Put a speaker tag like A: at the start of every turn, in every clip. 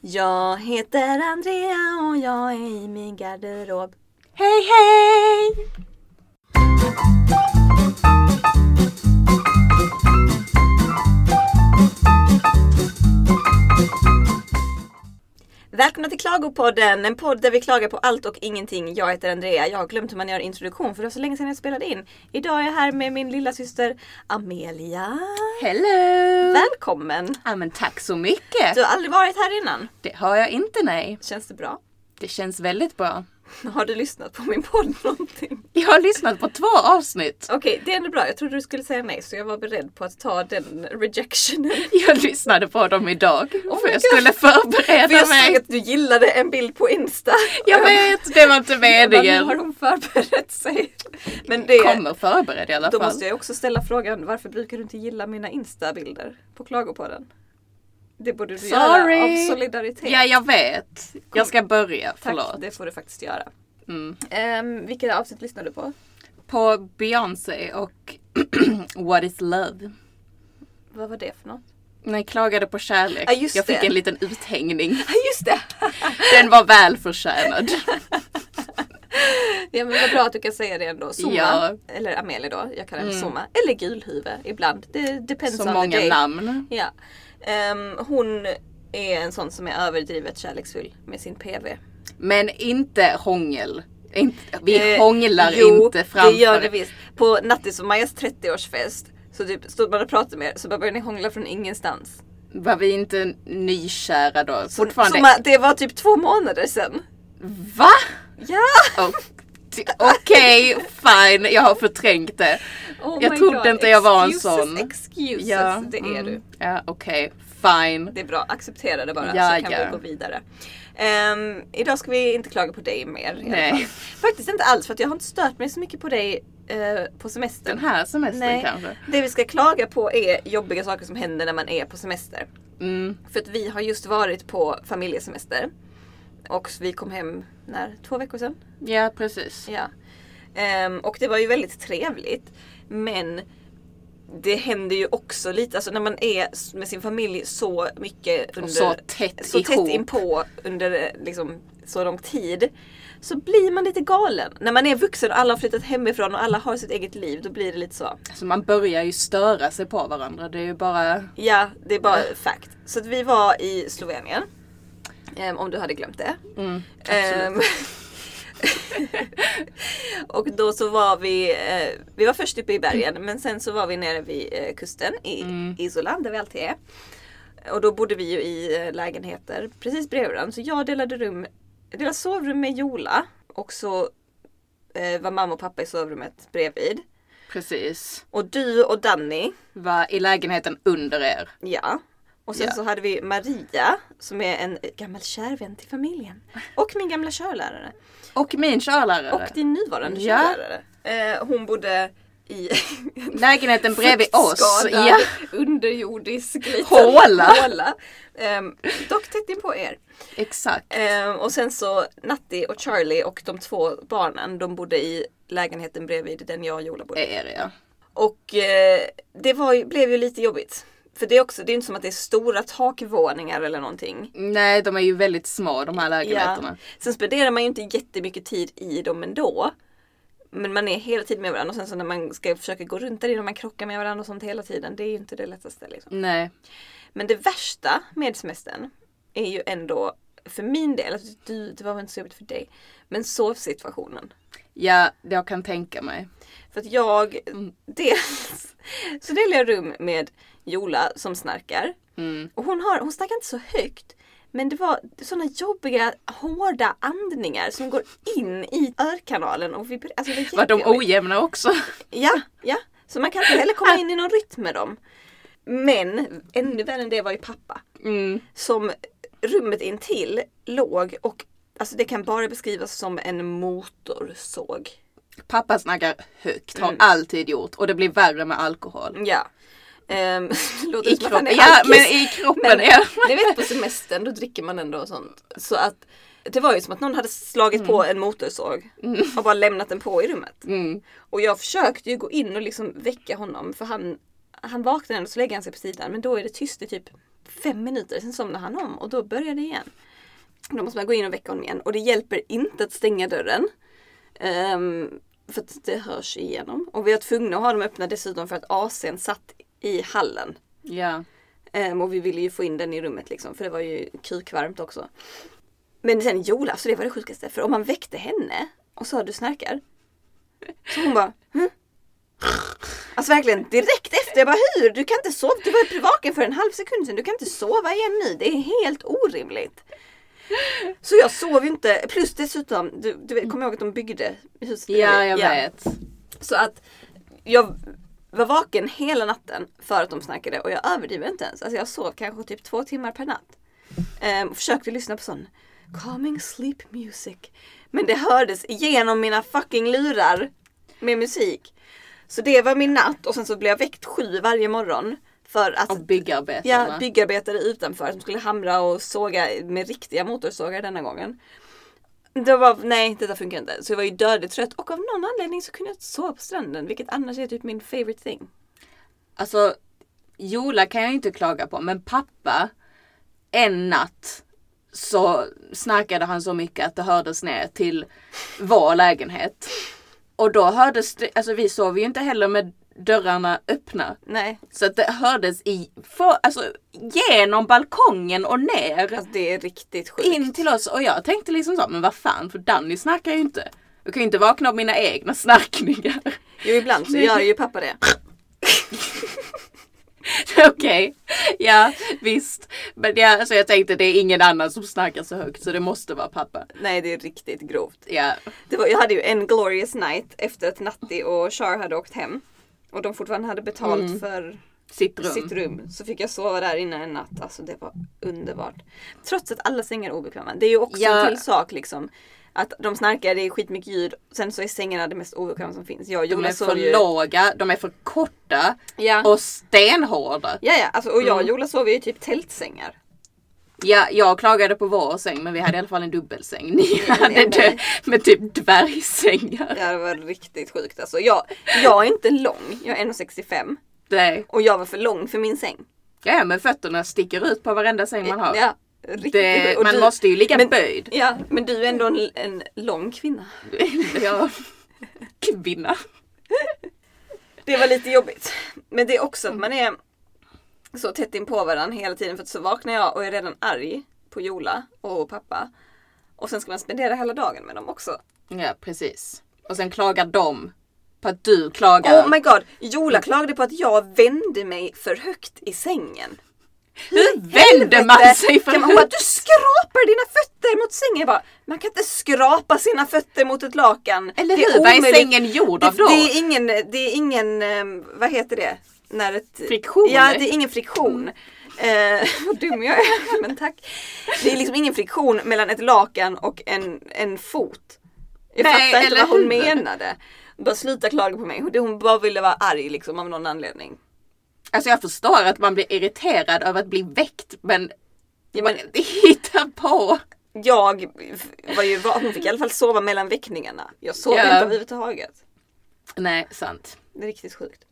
A: Jag heter Andrea och jag är i min garderob.
B: Hej hej!
A: Välkomna till Klagopodden, en podd där vi klagar på allt och ingenting. Jag heter Andrea, jag har glömt hur man gör introduktion för det var så länge sedan jag spelade in. Idag är jag här med min lilla syster Amelia.
B: Hello!
A: Välkommen!
B: Ja men tack så mycket!
A: Du har aldrig varit här innan.
B: Det har jag inte nej.
A: Känns det bra?
B: Det känns väldigt bra.
A: Har du lyssnat på min podd någonting?
B: Jag har lyssnat på två avsnitt.
A: Okej, det är ändå bra. Jag trodde du skulle säga nej så jag var beredd på att ta den rejectionen.
B: Jag lyssnade på dem idag. för
A: Oh my
B: jag
A: God.
B: skulle
A: För
B: förbereda
A: jag såg
B: mig.
A: att du gillade en bild på Insta.
B: Jag vet, det var inte
A: Jag bara, Nu har
B: meningen.
A: hon förberett sig. Men det,
B: Kommer förberedd i alla
A: då
B: fall.
A: måste jag också ställa frågan, varför brukar du inte gilla mina Insta-bilder på Klagopodden? Det borde du göra
B: Sorry.
A: av solidaritet.
B: Ja, jag vet. Jag ska börja,
A: Tack,
B: förlåt.
A: det får du faktiskt göra.
B: Mm.
A: Um, vilket avsnitt lyssnar du på?
B: På Beyoncé och What is love?
A: Vad var det för något?
B: När jag klagade på kärlek.
A: Ja, just
B: jag fick
A: det.
B: en liten uthängning.
A: Ja just det!
B: Den var väl förtjänad.
A: Ja men vad bra att du kan säga det ändå. Zuma,
B: Ja.
A: eller Amelie då, jag kallar henne Zuma. Eller Gulhuvud ibland. Det depends
B: Så
A: on the
B: många
A: day.
B: namn.
A: Ja. Ehm, hon är en sån som är överdrivet kärleksfull med sin PV.
B: Men inte hångel. Inte, vi
A: Eh,
B: hånglar
A: jo,
B: inte framför.
A: det gör det visst. På Nattis och Majas 30-årsfest så typ stod man och pratade med er så bara började ni hångla från ingenstans.
B: Var vi inte nykära då? Fortfarande.
A: Som att det var typ två månader sedan.
B: Va?
A: Ja!
B: Och- t- Okej, fine. Jag har förträngt det.
A: Oh
B: Jag
A: my
B: trodde inte jag var en
A: Excuses,
B: sån.
A: Excuses, det är
B: mm.
A: du.
B: Ja, okej. Fine.
A: Det är bra, acceptera det bara
B: Ja,
A: så kan
B: ja.
A: vi gå vidare. Ehm, idag ska vi inte klaga på dig mer. i alla
B: Nej.
A: fall. Faktiskt inte alls för att jag har inte stört mig så mycket på dig eh, på semestern.
B: Den här semestern
A: Nej.
B: kanske.
A: Det vi ska klaga på är jobbiga saker som händer när man är på semester.
B: Mm.
A: För att vi har just varit på familjesemester. Och vi kom hem, när? Två veckor sedan?
B: Ja, precis.
A: Ja. Ehm, och det var ju väldigt trevligt. Men det händer ju också lite, alltså när man är s- med sin familj så mycket under,
B: Och så tätt
A: så
B: ihop.
A: tätt inpå under eh, liksom, så lång tid. Så blir man lite galen. När man är vuxen och alla har flyttat hemifrån och alla har sitt eget liv, då blir det lite så.
B: Så man börjar ju störa sig på varandra. Det är ju bara...
A: Ja, det är bara fakt. Så att vi var i Slovenien. Ehm, om du hade glömt det.
B: Mm.
A: Ehm, och då så var vi, eh, vi var först uppe i bergen men sen så var vi nere vid eh, kusten i
B: Mm.
A: Isoland där vi alltid är. Och då bodde vi ju i eh, lägenheter precis bredvid varandra. Så jag delade, rum, jag delade sovrum med Jola och så eh, var mamma och pappa i sovrummet bredvid.
B: Precis.
A: Och du och Danny,
B: Var i lägenheten under er.
A: ja. Och sen
B: Ja.
A: så hade vi Maria som är en eh, gammal kär vän till familjen. Och min gamla körlärare.
B: Och min körlärare.
A: Och din nuvarande
B: Ja.
A: körlärare. Eh, hon bodde i en
B: Lägenheten bredvid oss.
A: fuktskadad,
B: Ja.
A: underjordisk liten
B: Håla.
A: håla. Ehm, dock tätt in på er.
B: Exakt.
A: Ehm, och sen så Natti och Charlie och de två barnen de bodde i lägenheten bredvid den jag och Jola bodde.
B: Är det ja.
A: Och eh, det var, ju- blev ju lite jobbigt. För det är också, det är inte som att det är stora takvåningar eller någonting.
B: Nej, de är ju väldigt små de här
A: Ja.
B: lägenheterna.
A: Sen spenderar man ju inte jättemycket tid i dem ändå. Men man är hela tiden med varandra och sen så när man ska försöka gå runt där inne och man krockar med varandra och sånt hela tiden. Det är ju inte det lättaste. Liksom.
B: Nej.
A: Men det värsta med semestern är ju ändå för min del, alltså, du, det var väl inte så jobbigt för dig, men sovsituationen.
B: Ja, jag kan tänka mig.
A: För att jag, dels så delar jag rum med Jola som snarkar.
B: Mm.
A: Och hon, har, hon snackar inte så högt. Men det var såna jobbiga, hårda andningar som går in i örkanalen och vibrerar. Alltså det
B: Var de
A: jättejobbigt.
B: ojämna också?
A: Ja, ja. Så man kan inte heller komma in i någon rytm med dem. Men ännu värre än det var ju pappa.
B: Mm.
A: Som rummet intill låg och alltså det kan bara beskrivas som en motorsåg.
B: Pappa snackar högt,
A: Mm.
B: har alltid gjort. Och det blir värre med alkohol.
A: Ja. Ehm, det låter
B: I
A: som att han
B: kroppen,
A: är
B: ja,
A: alkis.
B: men i kroppen.
A: Men
B: Ja.
A: ni vet på semestern då dricker man ändå och sånt. Så att det var ju som att någon hade slagit på en motorsåg och bara lämnat den på i rummet.
B: Mm.
A: Och jag försökte ju gå in och liksom väcka honom för han, han vaknade ändå så lägger han sig på sidan men då är det tyst i typ fem minuter, sen somnade han om och då börjar det igen. Då måste man gå in och väcka honom igen och det hjälper inte att stänga dörren. Ehm, för att det hörs igenom. Och vi var tvungna att ha dem öppna dessutom för att AC'n satt i hallen.
B: Ja.
A: Ehm, och vi ville ju få in den i rummet liksom för det var ju kukvarmt också. Men sen Jola, så det var det sjukaste. För om man väckte henne och sa du snarkar. Så hon bara hm? Alltså verkligen direkt efter. Jag bara hur? Du kan inte sova. Du var ju vaken för en halv sekund sedan. Du kan inte sova igen nu. Det är helt orimligt. Så jag sov ju inte. Plus dessutom, du, du vet, kommer ihåg att de byggde huset
B: ja, jag
A: bredvid? Ja.
B: vet.
A: Så att jag var vaken hela natten för att de snackade och jag överdriver inte ens. Alltså jag sov kanske typ två timmar per natt. Ehm, och försökte lyssna på sån calming sleep music. Men det hördes genom mina fucking lurar med musik. Så det var min natt och sen så blev jag väckt sju varje morgon. För att
B: Och byggarbetarna.
A: Ja, byggarbetare utanför som skulle hamra och såga med riktiga motorsågar denna gången. Det var, nej detta funkar inte. Så jag var ju dödligt trött och av någon anledning så kunde jag inte sova på stranden vilket annars är typ min favorite thing.
B: Alltså, Jola kan jag ju inte klaga på, men pappa, en natt så snarkade han så mycket att det hördes ner till vår lägenhet. Och då hördes det, alltså vi sov ju inte heller med dörrarna öppna.
A: Nej,
B: Så att det hördes i, för, alltså genom balkongen och ner
A: alltså det är riktigt sjukt.
B: in till oss. Och jag tänkte liksom så, men vad fan för Danny snarkar ju inte. Jag kan ju inte vakna av mina egna snarkningar.
A: Jo ibland så gör ju pappa det.
B: Okej, ja visst. Men ja, alltså jag tänkte det är ingen annan som snarkar så högt så det måste vara pappa.
A: Nej det är riktigt grovt.
B: Ja,
A: Det var, jag hade ju en glorious night efter att Natti och Char hade åkt hem. Och de fortfarande hade betalt för
B: sitt rum.
A: sitt rum. Så fick jag sova där inne en natt. Alltså det var underbart. Trots att alla sängar är obekväma. Det är ju också
B: Ja.
A: en till sak liksom. Att de snarkar, det är skitmycket ljud. Sen så är sängarna det mest obekväma som finns. Jag och
B: De
A: Jola
B: är för
A: sov ju...
B: låga, de är för korta
A: Ja.
B: och stenhårda.
A: Ja, ja. Alltså, och jag och Jola sov ju i typ tältsängar.
B: Ja, jag klagade på vår säng men vi hade i alla fall en dubbelsäng. Ni hade
A: nej.
B: det med typ dvärgsängar.
A: Ja, det var riktigt sjukt alltså. Jag, jag är inte lång. Jag är 1,65.
B: Nej.
A: Och jag var för lång för min säng.
B: Ja, ja, men fötterna sticker ut på varenda säng man har.
A: Ja, riktigt
B: Det,
A: sjukt. Och
B: man
A: du-
B: måste ju ligga
A: men-
B: böjd.
A: Ja, men du är ändå en, en lång kvinna.
B: ja. Kvinna.
A: Det var lite jobbigt. Men det är också att man är så tätt in på varandra hela tiden för att så vaknar jag och är redan arg på Jola och pappa. Och sen ska man spendera hela dagen med dem också.
B: Ja, precis. Och sen klagar de på att du klagar.
A: Oh my god! Jola klagade på att jag vände mig för högt i sängen.
B: Hur vänder man
A: Helvete!
B: sig för
A: Kan man- Hon bara, du skrapar dina fötter mot sängen. Jag bara, man kan inte skrapa sina fötter mot ett lakan.
B: Eller
A: Det är
B: hur? Vad är
A: omöjligt.
B: sängen gjord
A: Det,
B: av då?
A: det är ingen, det är ingen, ehm, vad heter det? När ett,
B: Friktion? Mm.
A: Ja, det är ingen friktion. Eh, vad dum jag är, men tack. Det är liksom ingen friktion mellan ett lakan och en, en fot. Jag
B: Nej,
A: fattar inte
B: eller
A: vad hon
B: hur?
A: menade. Bara sluta klaga på mig. Hon bara ville vara arg liksom av någon anledning.
B: Alltså jag förstår att man blir irriterad över att bli väckt men,
A: Ja,
B: man
A: men-
B: hittar på.
A: Jag var ju, va- hon fick i alla fall sova mellan väckningarna. Jag sov
B: Ja.
A: inte överhuvudtaget.
B: Nej, sant.
A: Det är riktigt sjukt.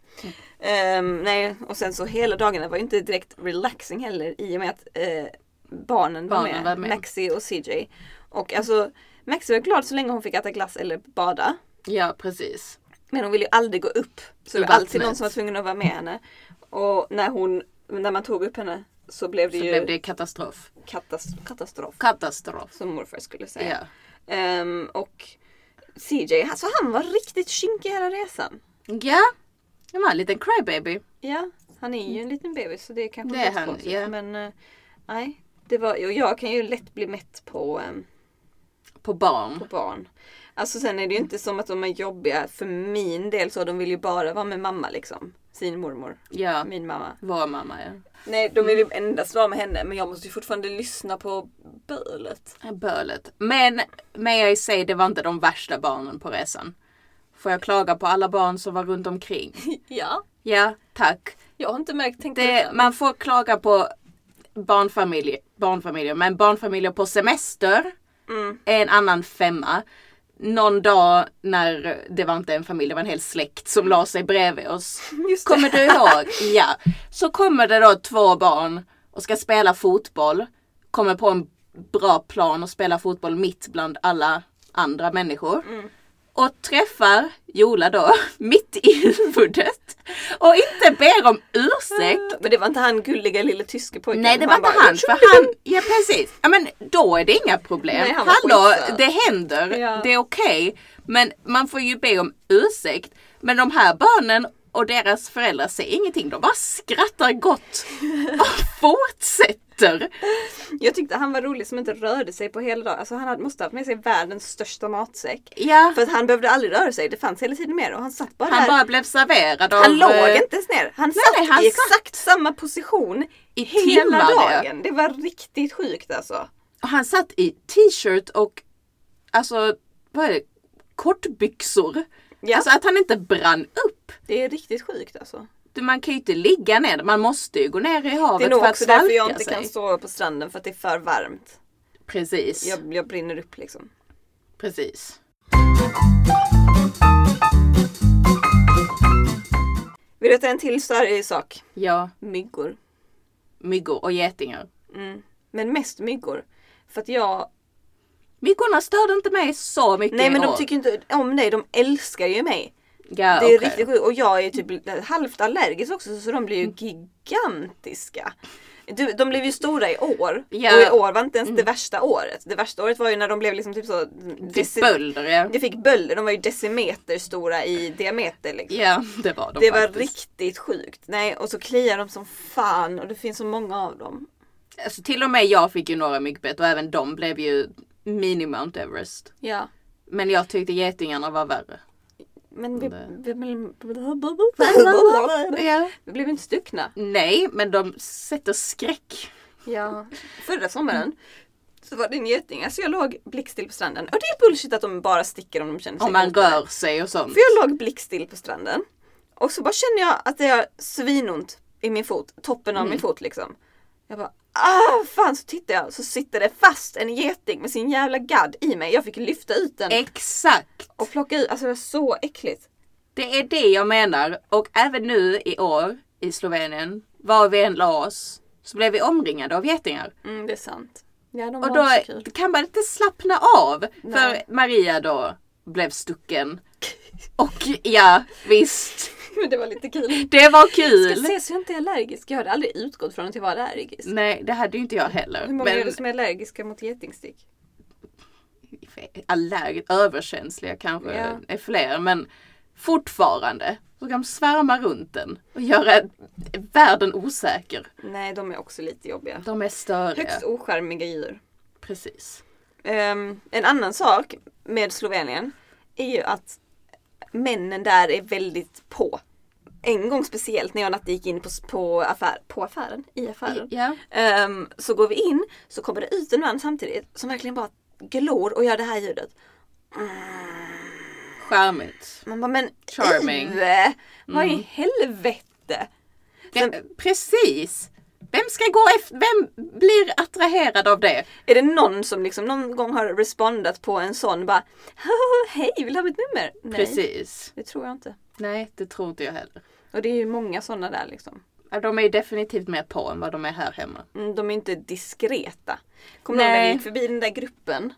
A: Ehm, nej, och sen så hela dagarna var ju inte direkt relaxing heller i och med att eh, barnen, var,
B: Barnen
A: med,
B: var med.
A: Maxi och CJ. Och alltså Maxi var glad så länge hon fick äta glass eller bada.
B: Ja, precis.
A: Men hon ville ju aldrig gå upp. Så
B: I
A: det var alltid
B: vattnet.
A: någon som var tvungen att vara med henne. Och när, hon, när man tog upp henne så blev det
B: Så
A: ju
B: blev det katastrof.
A: katas- katastrof.
B: Katastrof.
A: Som morfar skulle säga.
B: Ja.
A: Ehm, och CJ, alltså han var riktigt kinkig hela resan.
B: Ja, det var en liten crybaby.
A: Ja, han är ju en liten bebis så det kanske
B: Det är
A: inte så
B: han,
A: konstigt.
B: ja.
A: Men eh, nej, det var, och jag kan ju lätt bli mätt på, eh,
B: På barn.
A: på barn. Alltså sen är det ju inte som att de är jobbiga för min del så. De vill ju bara vara med mamma liksom. Sin mormor.
B: Ja, Mm.
A: Min mamma.
B: vår mamma ja.
A: Nej, de vill ju endast vara med henne men jag måste ju fortfarande lyssna på bölet.
B: Bölet. Men med jag säger det var inte de värsta barnen på resan. Får jag klaga på alla barn som var runt omkring?
A: ja,
B: Ja, tack.
A: jag har inte märkt, tänkt på
B: Det,
A: detta.
B: man får klaga på barnfamilj, barnfamiljer, men barnfamiljer på semester
A: Mm.
B: är en annan femma. Någon dag när det var inte en familj, det var en hel släkt som la sig bredvid oss.
A: Just det.
B: Kommer du ihåg? Ja. Så kommer det då två barn och ska spela fotboll. Kommer på en bra plan och spelar fotboll mitt bland alla andra människor.
A: Mm.
B: Och träffar Jola då mitt i huvudet. Och inte ber om ursäkt
A: Men det var inte han gulliga lille tyske pojken?
B: Nej det var inte
A: bara,
B: han, för han, ja precis. Ja men då är det inga problem.
A: Nej, han var
B: Hallå,
A: skitsöt.
B: det händer,
A: Ja.
B: det är okej. Men man får ju be om ursäkt. Men de här barnen och deras föräldrar säger ingenting, de bara skrattar gott och fortsätter.
A: Jag tyckte han var rolig som inte rörde sig på hela dagen. Alltså han hade, måste ha haft med sig världens största matsäck.
B: Ja,
A: För att han behövde aldrig röra sig, det fanns hela tiden mer och han satt bara
B: han
A: där.
B: bara blev serverad av...
A: han låg
B: eh,
A: inte ens ner. Han
B: nej,
A: satt
B: nej, han
A: i exakt samma position
B: I
A: hela
B: timmar, ja.
A: dagen. Det var riktigt sjukt alltså.
B: och Han satt i t-shirt och alltså, vad är det? Kortbyxor.
A: Ja.
B: Alltså att han inte brann upp.
A: Det är riktigt sjukt alltså.
B: Du, man kan ju inte ligga ner, man måste ju gå ner i havet
A: Det är nog
B: för att
A: också därför jag inte
B: sig.
A: kan sova på stranden för att det är för varmt.
B: Precis,
A: Jag, jag brinner upp liksom.
B: precis.
A: Vill du veta en till större sak?
B: Ja,
A: Myggor.
B: myggor och getingar.
A: Mm. Men mest myggor. För att jag...
B: Myggorna störde inte mig så mycket
A: Nej men
B: i
A: de
B: år.
A: tycker inte om dig, de älskar ju mig.
B: ja,
A: Det är
B: okej.
A: riktigt sjukt. Och jag är typ halvt allergisk också så de blir ju gigantiska. Du, de blev ju stora i år.
B: Ja.
A: Och i år var inte ens det värsta året. Det värsta året var ju när de blev liksom typ så...
B: Till
A: deci-
B: bölder ja.
A: Det fick bölder. De var ju decimeter stora i diameter liksom.
B: Ja, det var de
A: Det var
B: faktiskt.
A: riktigt sjukt. Nej, och så kliar de som fan och det finns så många av dem.
B: Alltså, till och med jag fick ju några myggbett och även de blev ju mini Mount Everest.
A: Ja.
B: Men jag tyckte getingarna var värre.
A: Men vi,
B: Det-
A: vi,
B: Ja.
A: vi blev inte stuckna.
B: Nej, men de sätter skräck.
A: Ja. Förra sommaren så var det en geting. Alltså jag låg blickstill på stranden. Och det är bullshit att de bara sticker om de känner sig
B: Om man
A: hotade.
B: rör sig och sånt.
A: För jag låg blickstill på stranden. Och så bara känner jag att det gör svinont i min fot. Toppen av min fot liksom. Jag bara ah fan så tittar jag så sitter det fast en geting med sin jävla gadd i mig. Jag fick lyfta ut den
B: Exakt!
A: och plocka ut. Alltså det var så äckligt.
B: Det är det jag menar. Och även nu i år i Slovenien, var vi än la oss, så blev vi omringade av getingar.
A: Mm, det är sant. Ja, de
B: Och
A: var
B: då
A: också kul.
B: kan man inte slappna av.
A: Nej.
B: För Maria då blev stucken. Och ja, visst.
A: Men det var lite kul.
B: Det var
A: Ska
B: kul.
A: se så jag inte är allergisk. Jag hade aldrig utgått från att jag var allergisk.
B: Nej, det hade ju inte jag heller.
A: Hur många är det
B: Men
A: som är allergiska mot getingstick?
B: allergiskt överkänsliga kanske
A: Ja.
B: är fler. Men fortfarande så kan de svärma runt den och göra världen osäker.
A: Nej, de är också lite jobbiga.
B: De är störiga.
A: Högst ocharmiga djur.
B: Precis.
A: Ehm, en annan sak med Slovenien är ju att männen där är väldigt på. En gång speciellt när jag och Natte gick in på, på, affär, på affären, i affären.
B: Ja.
A: Ehm, så går vi in, så kommer det ut en man samtidigt som verkligen bara glor och gör det här ljudet.
B: Charmigt.
A: Man bara, men
B: Charming.
A: Yve, vad i helvete?
B: Vem, precis! Vem ska gå efter, vem blir attraherad av det?
A: Är det någon som liksom någon gång har respondat på en sån bara Hej, vill du ha mitt nummer? Nej,
B: Precis.
A: det tror jag inte.
B: Nej, det tror inte jag heller.
A: Och det är ju många sådana där liksom.
B: Ja, De är ju definitivt mer på än vad de är här hemma.
A: Mm, De är inte diskreta. Kommer du ihåg när vi
B: Nej.
A: gick förbi den där gruppen?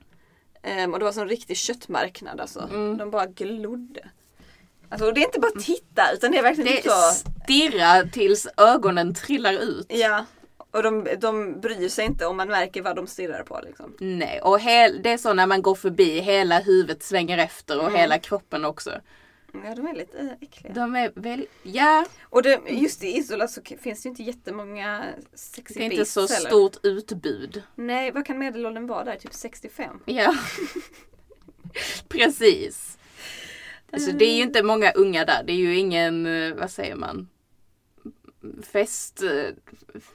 A: Ehm, och det var sån riktig köttmarknad alltså.
B: Mm.
A: De bara glodde. Alltså, och det är inte bara att titta utan det är verkligen
B: Det
A: typ så.
B: stirrar tills ögonen trillar ut.
A: Ja. Och de, de bryr sig inte om man märker vad de stirrar på liksom.
B: Nej, och hel, det är så när man går förbi, hela huvudet svänger efter och
A: Mm.
B: hela kroppen också.
A: Ja, de är lite eh, äckliga.
B: De är väl, ja,
A: Och det, just i Isola så k- finns det ju inte jättemånga sexy
B: det är inte
A: beasts
B: så
A: heller.
B: stort utbud.
A: Nej, vad kan medelåldern vara där? Typ 65?
B: Ja. Precis. Alltså det är ju inte många unga där. Det är ju ingen, eh, vad säger man? Fest... eh,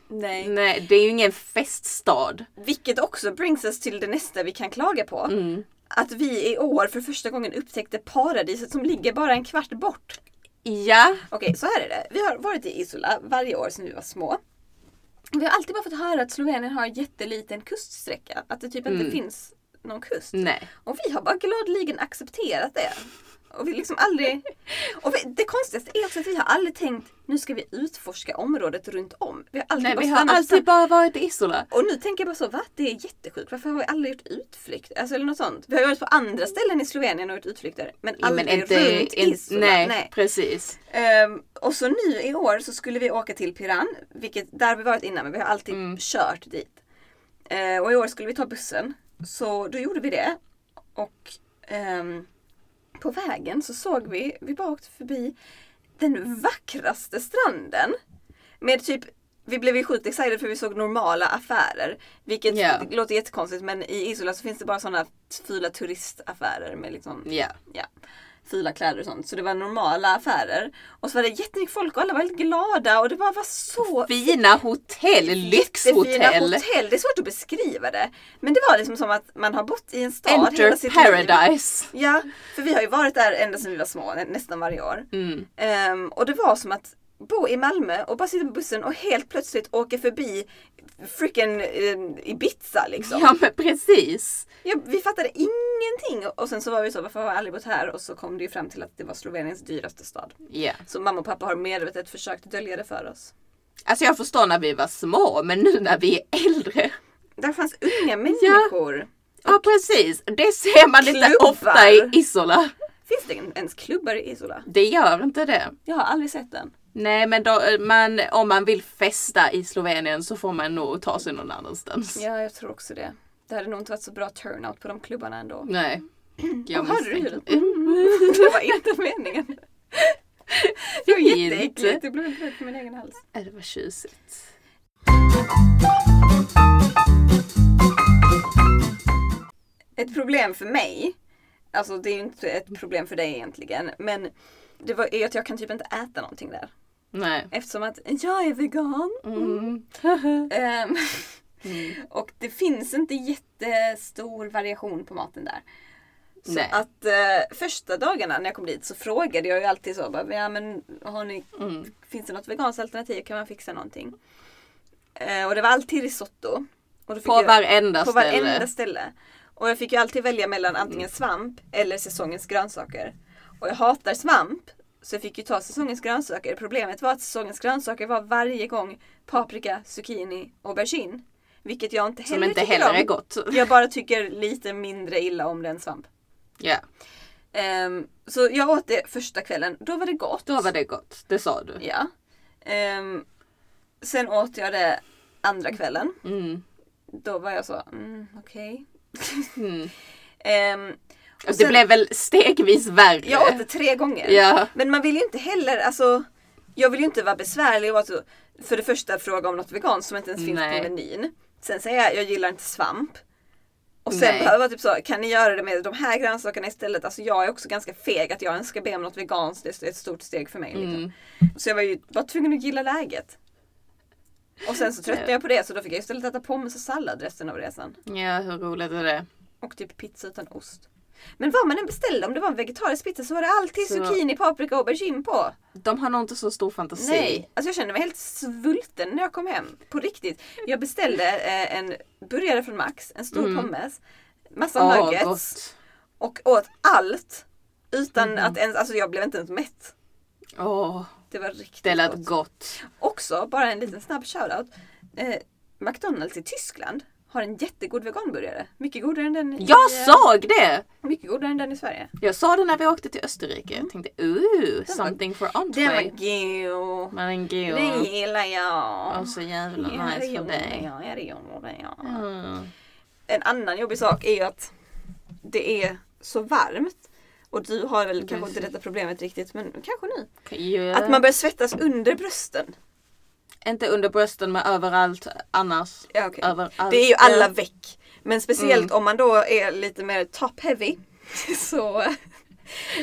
A: Nej.
B: Nej, det är ju ingen feststad.
A: Vilket också brings us till det nästa vi kan klaga på.
B: Mm.
A: Att vi i år för första gången upptäckte paradiset som ligger bara en kvart bort.
B: Ja,
A: Okej, så här är det. Vi har varit i Isola varje år sedan vi var små. Vi har alltid bara fått höra att Slovenien har en jätteliten kuststräcka. Att det typ inte finns någon kust.
B: nej.
A: Och vi har bara gladeligen accepterat det. Och vi liksom aldrig... Och vi, det konstigaste är också att vi har aldrig tänkt nu ska vi utforska området runt om. Vi har alltid
B: Nej,
A: bara
B: vi har
A: stannat
B: alltid bara varit i Isola.
A: Och nu tänker jag bara så, va? Det är jättesjukt. Varför har vi aldrig gjort utflykt? Alltså eller något sånt. Vi har ju varit på andra ställen i Slovenien och gjort utflykter. Men
B: Ja,
A: aldrig runt
B: in-
A: Isola.
B: nej,
A: Nej.
B: precis.
A: Ehm, och så nu i år så skulle vi åka till Piran. Vilket, där har vi varit innan men vi har alltid kört dit. Ehm, och i år skulle vi ta bussen. Så då gjorde vi det. Och ehm, på vägen så såg vi, vi bara åkte förbi den vackraste stranden. Med typ, vi blev ju sjukt excited för vi såg normala affärer. Vilket
B: Ja.
A: låter jättekonstigt men i Isola så finns det bara sådana fula turistaffärer med liksom
B: Ja.
A: ja, fula kläder och sånt. Så det var normala affärer. Och så var det jättemycket folk och alla var väldigt glada och det bara var så
B: Fina hotell,
A: jättefina
B: lyxhotell.
A: hotell. Det är svårt att beskriva det. Men det var liksom som att man har bott i en stad hela
B: Enter
A: sitt liv.
B: paradise.
A: Ja, för vi har ju varit där ända sedan vi var små, nä- nästan varje år.
B: Mm.
A: Ehm, och det var som att bo i Malmö och bara sitta på bussen och helt plötsligt åka förbi freaking um, Ibiza liksom.
B: Ja men precis.
A: Ja, vi fattade ingenting och sen så var vi så, varför har vi aldrig bott här? Och så kom det ju fram till att det var Sloveniens dyraste stad.
B: Ja.
A: Så mamma och pappa har medvetet försökt dölja det för oss.
B: Alltså jag förstår när vi var små men nu när vi är äldre.
A: Där fanns unga människor.
B: Ja precis, det ser man lite
A: Klubbar.
B: ofta i Isola.
A: Finns det ens klubbar i Isola?
B: Det gör inte det.
A: Jag har aldrig sett den.
B: Nej men då, man, om man vill festa i Slovenien så får man nog ta sig någon annanstans.
A: Ja, jag tror också det. Det hade nog inte varit så bra turnout på de klubbarna ändå.
B: Nej. Jag
A: Åh, hörde
B: misstänker-
A: du? Mm. Det var inte meningen. Det var
B: Fint.
A: jätteäckligt. Det blev inte på min egen hals.
B: Ja, Äh, Det var tjusigt.
A: ett problem för mig, alltså det är ju inte ett problem för dig egentligen, men det var, är att jag kan typ inte äta någonting där.
B: Nej.
A: Eftersom att jag är vegan.
B: Mm.
A: Ehm, och det finns inte jättestor variation på maten där. Så
B: Nej.
A: att eh, första dagarna när jag kom dit så frågade jag ju alltid så bara, ja, men har ni,
B: Mm.
A: finns det något veganskt alternativ? Kan man fixa någonting? Eh, och det var alltid risotto. Och då fick
B: På
A: jag-
B: varenda
A: på
B: ställe.
A: varenda ställe. Och jag fick ju alltid välja mellan antingen
B: Mm.
A: svamp eller säsongens grönsaker. Och jag hatar svamp. Så jag fick ju ta säsongens grönsaker. Problemet var att säsongens grönsaker var varje gång paprika, zucchini, aubergine. Vilket jag inte heller
B: Som inte
A: tycker
B: heller
A: om.
B: är gott.
A: Jag bara tycker lite mindre illa om det än svamp.
B: Ja,
A: Ehm, så jag åt det första kvällen. Då var det gott.
B: då var det gott. Det sa du.
A: Ja. Ehm, sen åt jag det andra kvällen.
B: Mm.
A: Då var jag så, mm, okej.
B: Mm.
A: Ehm,
B: Och det
A: sen-
B: blev väl stegvis värre.
A: Jag åt det tre gånger.
B: Ja.
A: Men man vill ju inte heller, alltså jag vill ju inte vara besvärlig och vara så, för det första fråga om något veganskt som inte ens finns
B: Nej.
A: på menyn. Sen säger jag, jag gillar inte svamp. Och sen
B: Nej.
A: behöver jag typ så, kan ni göra det med de här grönsakerna istället? Alltså jag är också ganska feg att jag ens ska be om något veganskt, det är ett stort steg för mig. Liksom.
B: Mm.
A: Så jag var ju bara tvungen att gilla läget. Och sen så tröttnade jag på det så då fick jag istället äta pommes och sallad resten av resan.
B: ja, hur roligt är det?
A: Och typ pizza utan ost. Men vad man än beställde, om det var en vegetarisk pizza så var det alltid
B: Så-
A: zucchini, paprika och aubergine på.
B: De har nog inte så stor fantasi.
A: Nej, alltså jag kände mig helt svulten när jag kom hem. På riktigt. Jag beställde eh, en burgare från Max, en stor pommes, massa
B: Mm. Åh,
A: nuggets
B: gott. Mm.
A: och åt allt utan att ens, alltså jag blev inte ens mätt.
B: Åh,
A: Det var riktigt
B: det lät
A: gott.
B: gott.
A: Också, bara en liten snabb shoutout. Eh, McDonalds i Tyskland har en jättegod veganburgare. Mycket godare än den i,
B: Jag
A: eh,
B: såg det!
A: Mycket godare än den i Sverige.
B: Jag sa det när vi åkte till Österrike. Jag tänkte ooh,
A: Mm. var-
B: something for
A: Den var
B: entree.
A: god.
B: Men gud.
A: Den gillar jag.
B: Åh, så jävla
A: Ja, det
B: nice för
A: gjorde
B: dig.
A: jag, ja, det gjorde jag.
B: Mm.
A: En annan jobbig sak är ju att det är så varmt. Och du har väl kanske inte detta problemet riktigt men kanske nu.
B: Ja.
A: Att man börjar svettas under brösten.
B: Inte under brösten men överallt annars.
A: Ja, okej.
B: Överallt. Mm.
A: Det är ju alla veck. Men speciellt om man då är lite mer top heavy. Så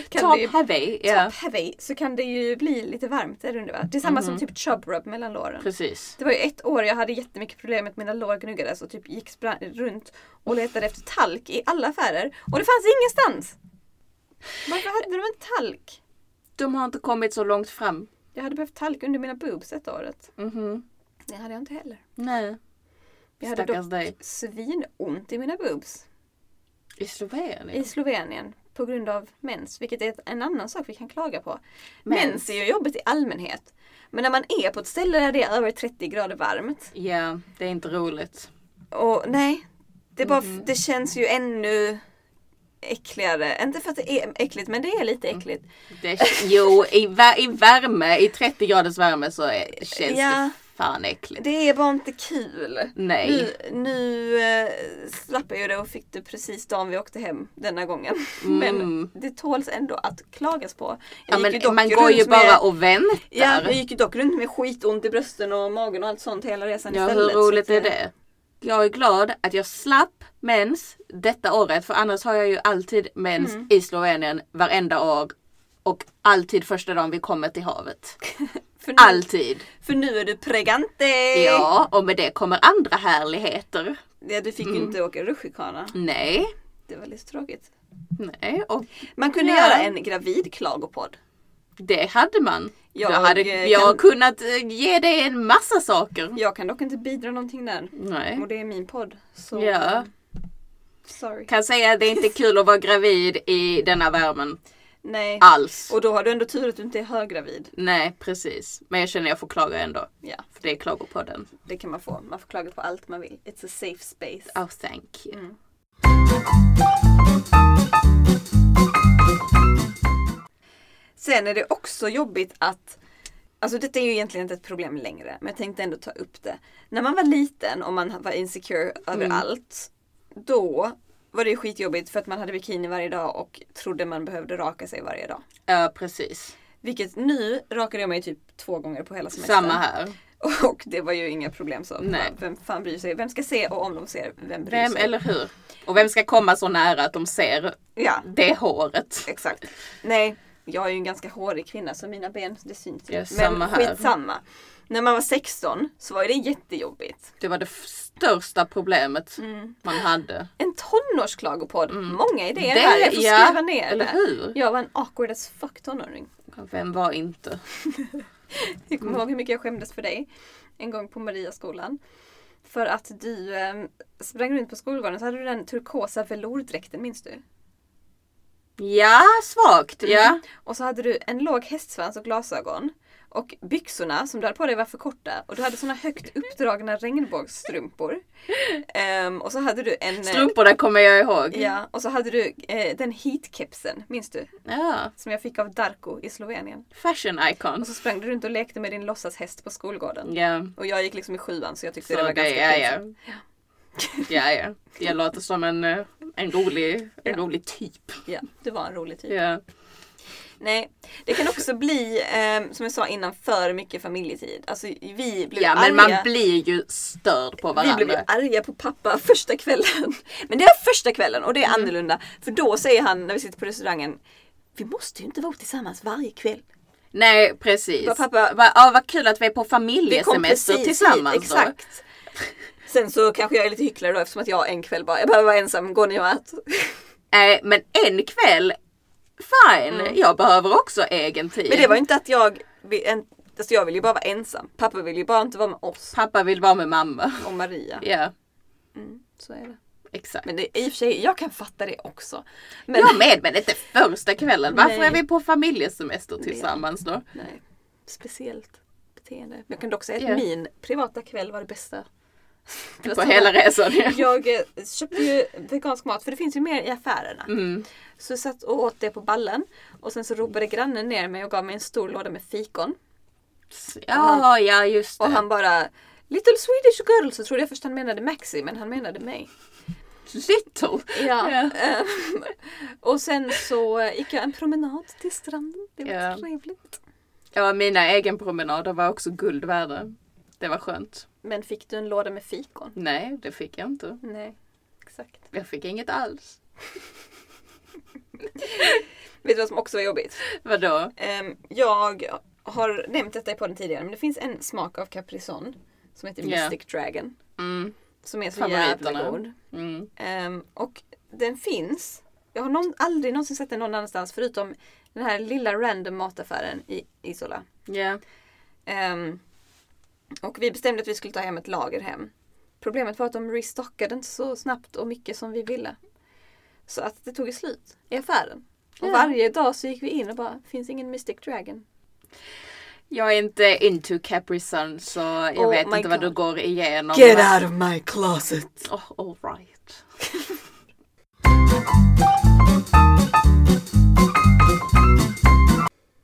A: kan
B: Top
A: det ju,
B: heavy. Ja,
A: top heavy så kan det ju bli lite varmt där under va? Det är samma
B: Mm-hmm.
A: som typ chub rub mellan låren.
B: precis.
A: Det var ju ett år jag hade jättemycket problem med att mina lår gnuggades och typ gick spra- runt och letade efter talk i alla affärer och det fanns ingenstans! Varför hade de inte talk?
B: De har inte kommit så långt fram.
A: Jag hade behövt talk under mina boobs ett året.
B: Mhm.
A: Det hade jag inte heller.
B: Nej,
A: Jag hade
B: stackars
A: dock
B: dig.
A: svinont i mina boobs
B: I Slovenien?
A: i Slovenien på grund av mens, vilket är ett- en annan sak vi kan klaga på.
B: Mens.
A: Mens är ju jobbigt i allmänhet. Men när man är på ett ställe där det är över 30 grader varmt.
B: Ja, det är inte roligt.
A: Och nej, det, är bara,
B: Mm.
A: det känns ju ännu äckligare. Inte för att det är äckligt, men det är lite
B: Mm.
A: äckligt.
B: Det, jo, i, vä- i värme, i 30 graders värme så är, känns
A: Ja.
B: det fan äckligt.
A: Det är bara inte kul.
B: Nej.
A: Nu, nu eh, slapp jag ju det och fick det precis dagen vi åkte hem denna gången. Men
B: Mm.
A: det tåls ändå att klagas på.
B: Ja,
A: gick
B: men
A: dock
B: man går ju
A: runt
B: bara
A: med,
B: och väntar.
A: Ja, jag gick ju dock runt med skitont i brösten och magen och allt sånt hela resan
B: Ja, hur
A: istället. så
B: roligt
A: att,
B: är
A: eh,
B: det? Jag är glad att jag slapp mens detta året för annars har jag ju alltid mens i Slovenien varenda år och alltid första dagen vi kommer till havet.
A: För nu,
B: Alltid!
A: för nu är du pregante!
B: Ja, och med det kommer andra härligheter.
A: Ja, du fick
B: Mm.
A: ju inte åka rutschkana.
B: Nej,
A: Det var lite tråkigt.
B: nej, och
A: Man kunde
B: Ja.
A: göra en gravidklagopodd.
B: det hade man. Jag,
A: Jag,
B: hade
A: eh,
B: jag
A: kan-
B: kunnat eh, ge dig en massa saker.
A: Jag kan dock inte bidra någonting där.
B: Nej.
A: Och det är min podd. Så
B: Mm. Ja,
A: sorry.
B: kan säga att det är inte kul att vara gravid i denna värmen
A: Nej.
B: alls.
A: Och då har du ändå tur att du inte är höggravid.
B: Nej, precis. Men jag känner jag får klaga ändå.
A: Ja,
B: För det är klagopodden.
A: det kan man få. Man får klaga på allt man vill. It's a safe space.
B: Oh, thank you.
A: Mm. Sen är det också jobbigt att Alltså detta är ju egentligen inte ett problem längre, men jag tänkte ändå ta upp det. När man var liten och man var insecure över
B: Mm.
A: allt, då var det ju skitjobbigt för att man hade bikini varje dag och trodde man behövde raka sig varje dag.
B: Ja, precis.
A: Vilket nu rakade jag mig typ två gånger på hela semestern.
B: Samma här.
A: Och det var ju inga problem så.
B: Nej.
A: Vem fan bryr sig? Vem ska se och om de ser, vem bryr
B: Vem,
A: sig?
B: eller hur? Och vem ska komma så nära att de ser
A: Ja,
B: det håret?
A: exakt. Nej, jag är ju en ganska hårig kvinna så mina ben, det syns ju.
B: Ja,
A: Men
B: samma här.
A: skitsamma. När man var 16 så var ju det jättejobbigt.
B: Det var det f- största problemet
A: Mm.
B: man hade.
A: En tonårsklagopodd. Många idéer
B: Mm. Det-
A: här, jag får
B: ja,
A: skriva ner
B: eller
A: det.
B: hur?
A: Jag var en awkward as fuck tonåring.
B: Vem var inte?
A: Jag kommer ihåg hur mycket jag skämdes för dig en gång på Mariaskolan. För att du eh, sprang runt på skolgården så hade du den turkosa velourdräkten, minns du?
B: Ja, svagt. Ja.
A: Och så hade du en låg hästsvans och glasögon. Och byxorna som du hade på dig var för korta. Och du hade såna högt uppdragna regnbågsstrumpor. Ehm, och så hade du en... eh,
B: Strumporna kommer jag ihåg.
A: Ja, och så hade du eh, den heatkepsen, minns du?
B: Ja.
A: Som jag fick av Darko i Slovenien.
B: Fashion
A: Och
B: icons.
A: så sprang du runt och lekte med din låtsashäst på skolgården.
B: Ja.
A: Och jag gick liksom i sjuan så jag tyckte
B: Mm. Så
A: det var
B: det,
A: ganska
B: ja, ja.
A: pinsamt.
B: ja, ja. Jag låter som en, eh, en, rolig, en rolig typ.
A: Ja, du var en rolig typ.
B: Ja.
A: Nej, det kan också bli, ehm, som jag sa innan, för mycket familjetid. Alltså vi blev
B: ja, men
A: arga.
B: man blir ju störd på
A: Vi
B: varandra.
A: blev ju arga på pappa första kvällen. Men det är första kvällen och det är
B: Mm.
A: annorlunda. För då säger han när vi sitter på restaurangen vi måste ju inte vara tillsammans varje kväll.
B: Nej precis.
A: Vad pappa-
B: Va, ja, vad kul att vi är på
A: Vi kom
B: familjesemester
A: precis
B: tillsammans
A: hit,
B: då.
A: Exakt. Sen så kanske jag är lite hycklare då eftersom att jag en kväll bara, jag behöver vara ensam, går ni och ät?
B: Nej Eh, men en kväll, fine. Jag behöver också egen tid.
A: Mm. Men det var ju inte att jag, vi- en- alltså jag vill ju bara vara ensam. Pappa vill ju bara inte vara med oss
B: Pappa vill vara med mamma.
A: och Maria.
B: Ja,
A: Så är det.
B: exakt.
A: Men det, i och för sig, jag kan fatta det också. Men
B: Jag med men inte första kvällen. Varför
A: Nej.
B: är vi på familjesemester tillsammans då?
A: Nej, speciellt beteende. Men jag kan dock säga att
B: Ja.
A: min privata kväll var det bästa.
B: På hela resan. ja.
A: Jag eh, köpte ju vegansk mat för det finns ju mer i affärerna.
B: Mm.
A: Så jag satt och åt det på ballen och sen så ropade grannen ner mig och gav mig en stor låda med fikon.
B: Ja, ja just det.
A: Och han bara Little Swedish girl så trodde jag först han menade Maxi men han menade mig.
B: Little.
A: Ja.
B: Ja.
A: ehm, och sen så gick jag en promenad till stranden. Det var
B: Ja.
A: trevligt.
B: ja, mina egenpromenader var också guld värda. Det var skönt.
A: Men fick du en låda med fikon?
B: Nej, det fick jag inte.
A: Nej, exakt.
B: Jag fick inget alls.
A: Vet du vad som också var jobbigt?
B: Vadå?
A: Ehm, jag har nämnt detta i podden tidigare men det finns en smak av caprison som heter
B: Ja.
A: Mystic Dragon.
B: Mm.
A: Som är så
B: Favoriterna.
A: jävla god.
B: Mm.
A: Ehm, och den finns. Jag har någon, aldrig någonsin sett den någon annanstans förutom den här lilla random mataffären i Isola.
B: Ja.
A: Ehm, och vi bestämde att vi skulle ta hem ett lager hem. Problemet var att de restockade inte så snabbt och mycket som vi ville. Så att det tog ju slut i affären. Och
B: Ja.
A: varje dag så gick vi in och bara, finns ingen Mystic Dragon.
B: Jag är inte into Capri Sun så jag
A: Oh
B: vet
A: my
B: inte vad du
A: God.
B: går igenom.
A: of my closet!
B: Oh, all right.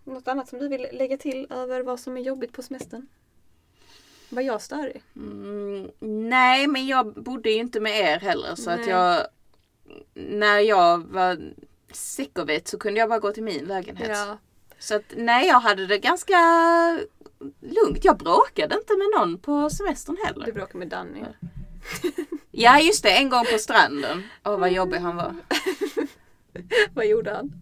A: Något annat som du vill lägga till över vad som är jobbigt på semestern? Vad jag stör i?
B: Mm, nej, men jag bodde ju inte med er heller så att
A: Nej.
B: jag... När jag var sick of it så kunde jag bara gå till min lägenhet. Så att nej, jag hade det ganska lugnt. Jag bråkade inte med någon på semestern heller.
A: Du bråkar med Danny.
B: Ja, just det. En gång på stranden. Åh, vad jobbig han var.
A: Vad gjorde han?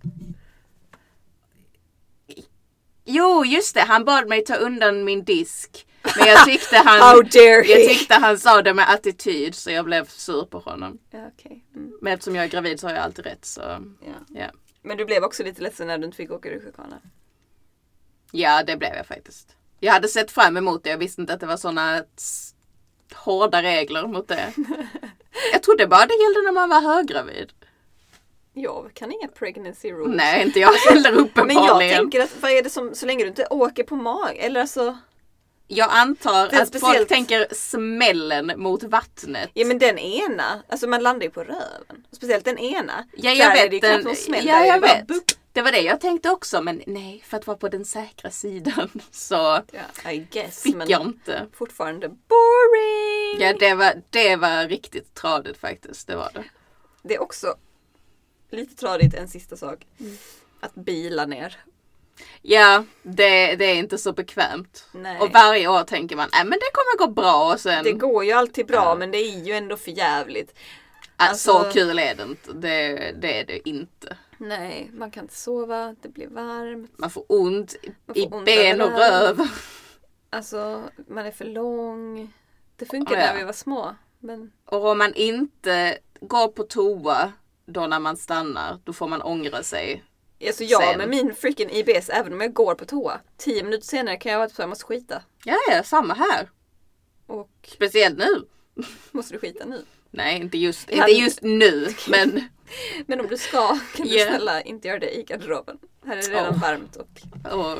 B: Jo, just det. Han bad mig ta undan min disk. Men jag tyckte han...
A: dare
B: Um, Jag tyckte han sa det med attityd så jag blev sur på honom.
A: Ja, okej. Mm,
B: Men eftersom jag är gravid så har jag alltid rätt så
A: ja.
B: ja.
A: Men du blev också lite ledsen när du inte fick åka rutschkana.
B: Ja det blev jag faktiskt. Jag hade sett fram emot det. Jag visste inte att det var sådana hårda regler mot det. Jag trodde bara det gällde när man var höggravid.
A: Jag kan inga pregnancy rules.
B: Nej inte jag heller
A: Men jag
B: uppenbarligen.
A: tänker att vad är det som, så länge du inte åker på mag, eller alltså,
B: Jag antar
A: Det är
B: att folk
A: speciellt.
B: tänker smällen mot vattnet.
A: ja men den ena, alltså man landar ju på röven. Speciellt den ena.
B: Ja
A: Där
B: jag
A: är det ju
B: vet.
A: knappt
B: Den,
A: någon smäll, där
B: ja
A: är
B: jag
A: det bara
B: vet.
A: bup.
B: Det var det jag tänkte också men nej för att vara på den säkra sidan så
A: Ja, I guess.
B: fick
A: men
B: jag inte.
A: fortfarande boring!
B: Ja det var, det var riktigt tradigt faktiskt. Det var det.
A: Det är också lite tradigt en sista sak. Att bila ner.
B: Ja, det, det är inte så bekvämt.
A: Nej.
B: Och varje år tänker man, nej men det kommer gå bra och sen,
A: Det går ju alltid bra
B: Ja.
A: men det är ju ändå för jävligt.
B: "Ah, så
A: alltså-
B: kul är det inte. Det, det är det inte.
A: Nej, man kan inte sova, det blir varmt.
B: Man får ont
A: Man
B: i
A: får ont
B: ben och
A: överallt.
B: röv.
A: Alltså, man är för lång. Det funkade
B: Ja.
A: när vi var små. Men
B: Och om man inte går på toa då när man stannar, då får man ångra sig.
A: alltså jag
B: Sen.
A: med min freaking IBS, även om jag går på toa, tio minuter senare kan jag vara typ såhär, jag måste skita.
B: Ja, ja, samma här.
A: Och
B: Speciellt nu.
A: måste du skita nu?
B: Nej, inte just,
A: Ja,
B: inte
A: men-
B: just nu, men
A: Men om du ska, kan du
B: Ja.
A: snälla inte göra det i garderoben. Här är det redan
B: Oh.
A: varmt och
B: och,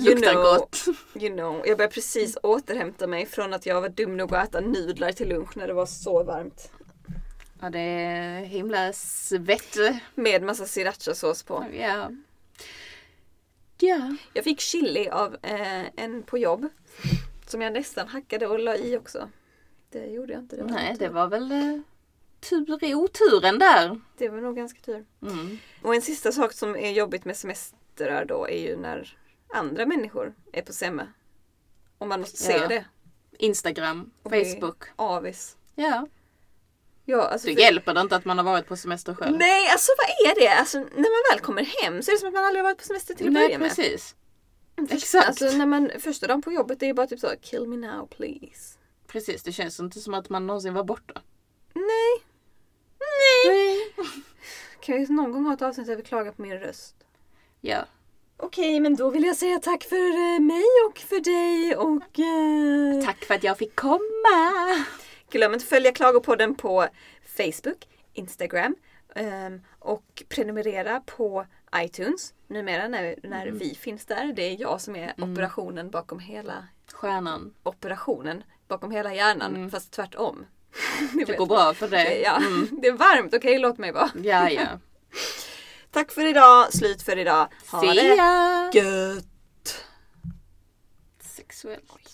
A: you
B: luktar
A: know,
B: gott.
A: You know. Jag börjar precis återhämta mig från att jag var dum nog att äta nudlar till lunch när det var så varmt.
B: Ja, det är himla svett.
A: Med massa srirachasås på.
B: Ja. Ja.
A: Jag fick chili av eh, en på jobb. Som jag nästan hackade och la i också. Det gjorde jag inte. Det var,
B: Nej, det var väl eh, tur i oturen där.
A: det var nog ganska tur.
B: Mm.
A: Och en sista sak som är jobbigt med semestrar då är ju när andra människor är på semme. Och man måste se
B: Ja.
A: det.
B: Instagram,
A: Och bli
B: Facebook.
A: Avis.
B: Ja.
A: Ja, alltså
B: Det
A: för-
B: hjälper det inte att man har varit på semester själv.
A: Nej, alltså vad är det? Alltså, när man väl kommer hem så är det som att man aldrig har varit på semester till att
B: Nej,
A: börja med.
B: precis.
A: Först-
B: Exakt.
A: Alltså när man, första dagen på jobbet det är bara typ så kill me now please.
B: Precis, det känns inte som att man någonsin var borta.
A: Nej. Nej. Kan jag någon gång ha ett avsnitt där vi klagar på min röst?
B: Ja.
A: Okej, men då vill jag säga tack för eh, mig och för dig och... eh,
B: Tack för att jag fick komma!
A: Glöm inte att följa Klagopodden på Facebook, Instagram ehm, och prenumerera på iTunes. Numera när, när
B: Mm.
A: vi finns där. Det är jag som är operationen bakom hela
B: Stjärnan.
A: operationen bakom hela hjärnan fast tvärtom. Ni
B: Mm. Det
A: vet.
B: går bra Mm. för dig.
A: Ja, det är varmt. Okej, låt mig vara.
B: Ja, ja.
A: Tack för idag. Slut för idag. Ha
B: See
A: det
B: ya!
A: gött.
B: Sexuellt.